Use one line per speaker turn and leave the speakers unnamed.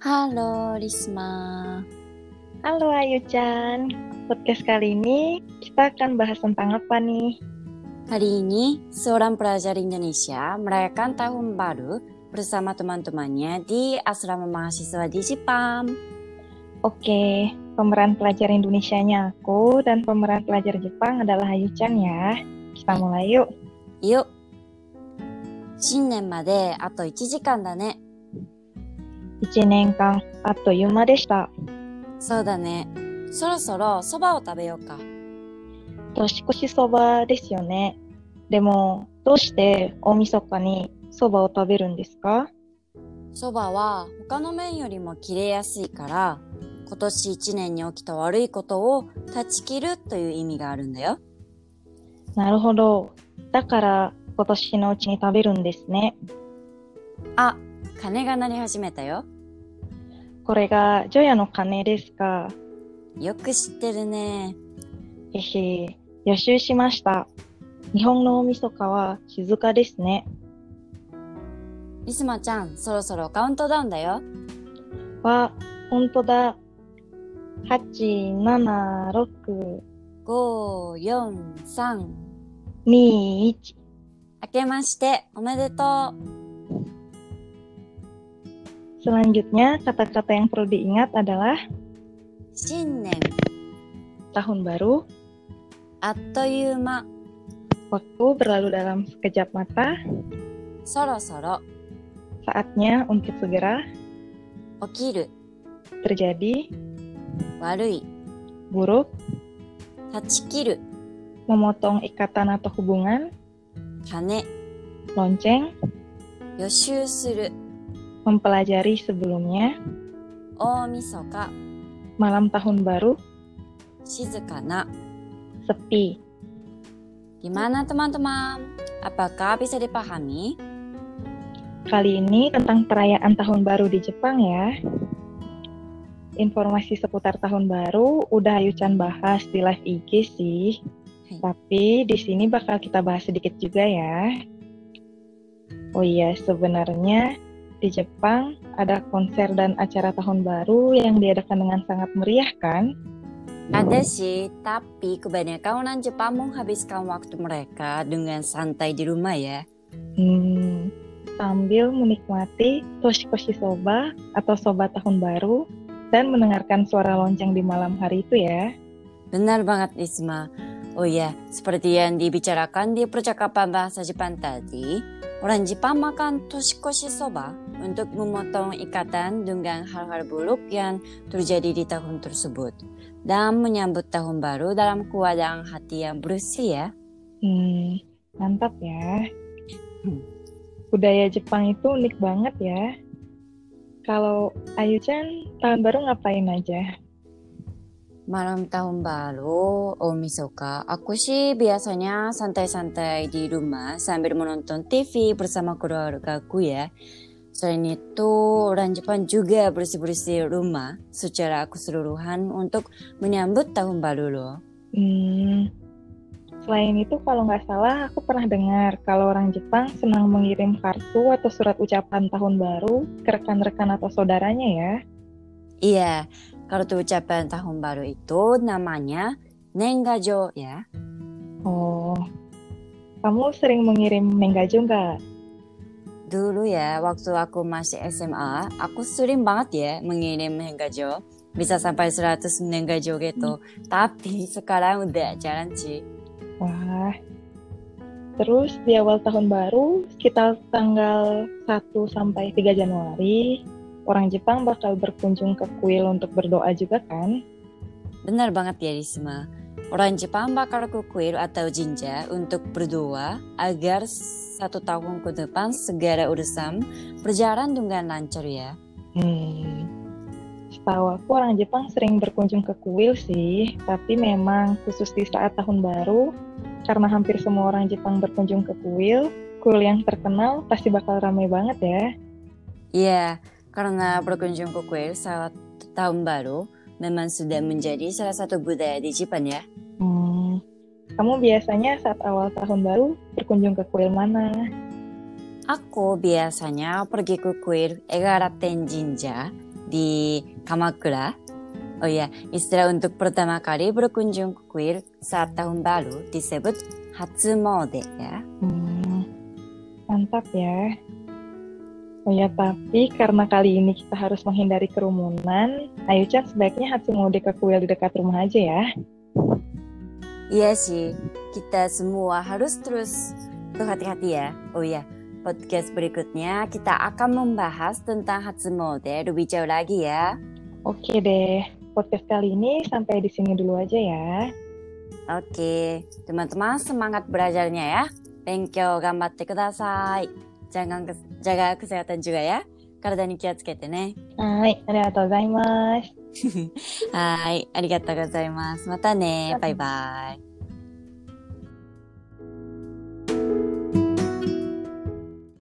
ハロー、リスマー。
Halo Ayu Chan, podcast kali ini kita akan bahas tentang apa nih?
Hari ini, seorang pelajar Indonesia merayakan tahun baru bersama teman-temannya di asrama mahasiswa di Jepang.
Oke, pemeran pelajar Indonesianya aku dan pemeran pelajar Jepang adalah Ayu Chan ya. Kita mulai yuk.
よっ新年まであと1時間だね。
1年間あっという間でした。
そうだね。そろそろそばを食べようか。
年越しそばですよね。でも、どうして大晦日にそばを食べるんですか
そばは他の麺よりも切れやすいから、今年1年に起きた悪いことを断ち切るという意味があるんだよ。
なるほど。だから今年のうちに食べるんですね。
あ、鐘が鳴り始めたよ。
これが除夜の鐘ですか。
よく知ってるね。
へへ、予習しました。日本の大晦日は静かですね。
リスマちゃん、そろそろカウントダウンだよ。
わ、ほんとだ。8、7、6、
5、4、3。
2、1。
明けまして、おめでと
Selanjutnya, kata-kata yang perlu diingat adalah
う。新年、
tahun baru,
あっという間、
waktu berlalu dalam sekejap mata,
そろそろ、
saatnya untuk segera
起きる、
terjadi,
悪い、
buruk,
断ち切る、
memotong ikatan atau hubungan,
鐘、
lonceng,
予習する、
mempelajari sebelumnya,
大晦日、
malam tahun baru,
静かな。
sepi,
Gimana teman-teman? Apakah bisa dipahami?
Kali ini tentang perayaan tahun baru di Jepang ya. Informasi seputar tahun baru udah Ayu Chan bahas di live IG sih.
Hai.
Tapi di sini bakal kita bahas sedikit juga ya. Oh iya, sebenarnya di Jepang ada konser dan acara tahun baru yang diadakan dengan sangat meriah kan?
Ada sih, tapi kebanyakan orang Jepang menghabiskan waktu mereka dengan santai di rumah ya.
Hmm, sambil menikmati toshikoshi soba atau soba tahun baru dan mendengarkan suara lonceng di malam hari itu ya.
Benar banget Isma. Oh iya, seperti yang dibicarakan di percakapan bahasa Jepang tadi, orang Jepang makan toshikoshi soba untuk memotong ikatan dengan hal-hal buruk yang terjadi di tahun tersebut dan menyambut tahun baru dalam keadaan hati yang bersih ya.
Hmm, mantap ya.
Hmm.
Budaya Jepang itu unik banget ya. Kalau Ayu-chan, tahun baru ngapain aja?
Malam tahun baru, Omisoka, aku sih biasanya santai-santai di rumah sambil menonton TV bersama keluargaku ya. Selain itu, orang Jepang juga bersih-bersih rumah secara keseluruhan untuk menyambut tahun baru loh.
Hmm, selain itu kalau nggak salah aku pernah dengar kalau orang Jepang senang mengirim kartu atau surat ucapan tahun baru ke rekan-rekan atau saudaranya ya.
Iya, kartu ucapan tahun baru itu namanya Nengajo ya.
Oh, kamu sering mengirim menggajo nggak?
Dulu ya, waktu aku masih SMA, aku sering banget ya mengirim menggajo. Bisa sampai 100 menggajo gitu. Tapi sekarang udah jarang sih.
Wah. Terus di awal tahun baru, sekitar tanggal 1 sampai 3 Januari, orang Jepang bakal berkunjung ke kuil untuk berdoa juga kan?
Benar banget ya Risma. Orang Jepang bakal ke kuil atau jinja untuk berdoa agar satu tahun ke depan segala urusan berjalan dengan lancar ya.
Hmm. Setahu aku orang Jepang sering berkunjung ke kuil sih, tapi memang khusus di saat tahun baru, karena hampir semua orang Jepang berkunjung ke kuil, kuil yang terkenal pasti bakal ramai banget ya.
Iya, karena berkunjung ke kuil saat tahun baru memang sudah menjadi salah satu budaya di Jepang ya.
Hmm. Kamu biasanya saat awal tahun baru berkunjung ke kuil mana?
Aku biasanya pergi ke kuil Egaraten Jinja di Kamakura. Oh ya, istilah untuk pertama kali berkunjung ke kuil saat tahun baru disebut Hatsumode ya.
Hmm, mantap ya. Oh ya, tapi karena kali ini kita harus menghindari kerumunan, Ayu-chan sebaiknya Hatsumode ke kuil di dekat rumah aja ya.
Iya sih, kita semua harus terus berhati-hati ya. Oh ya, podcast berikutnya kita akan membahas tentang Hatsumode lebih jauh lagi ya.
Oke deh, podcast kali ini sampai di sini dulu aja ya.
Oke, teman-teman semangat belajarnya ya. Benkyou gambatte kudasai. Jangan kes- jaga kesehatan juga ya. Karena ni kiyatsukete ne.
Hai, arigatou gozaimasu.
Hai, arigatou gozaimasu. Mata ne. Bye bye.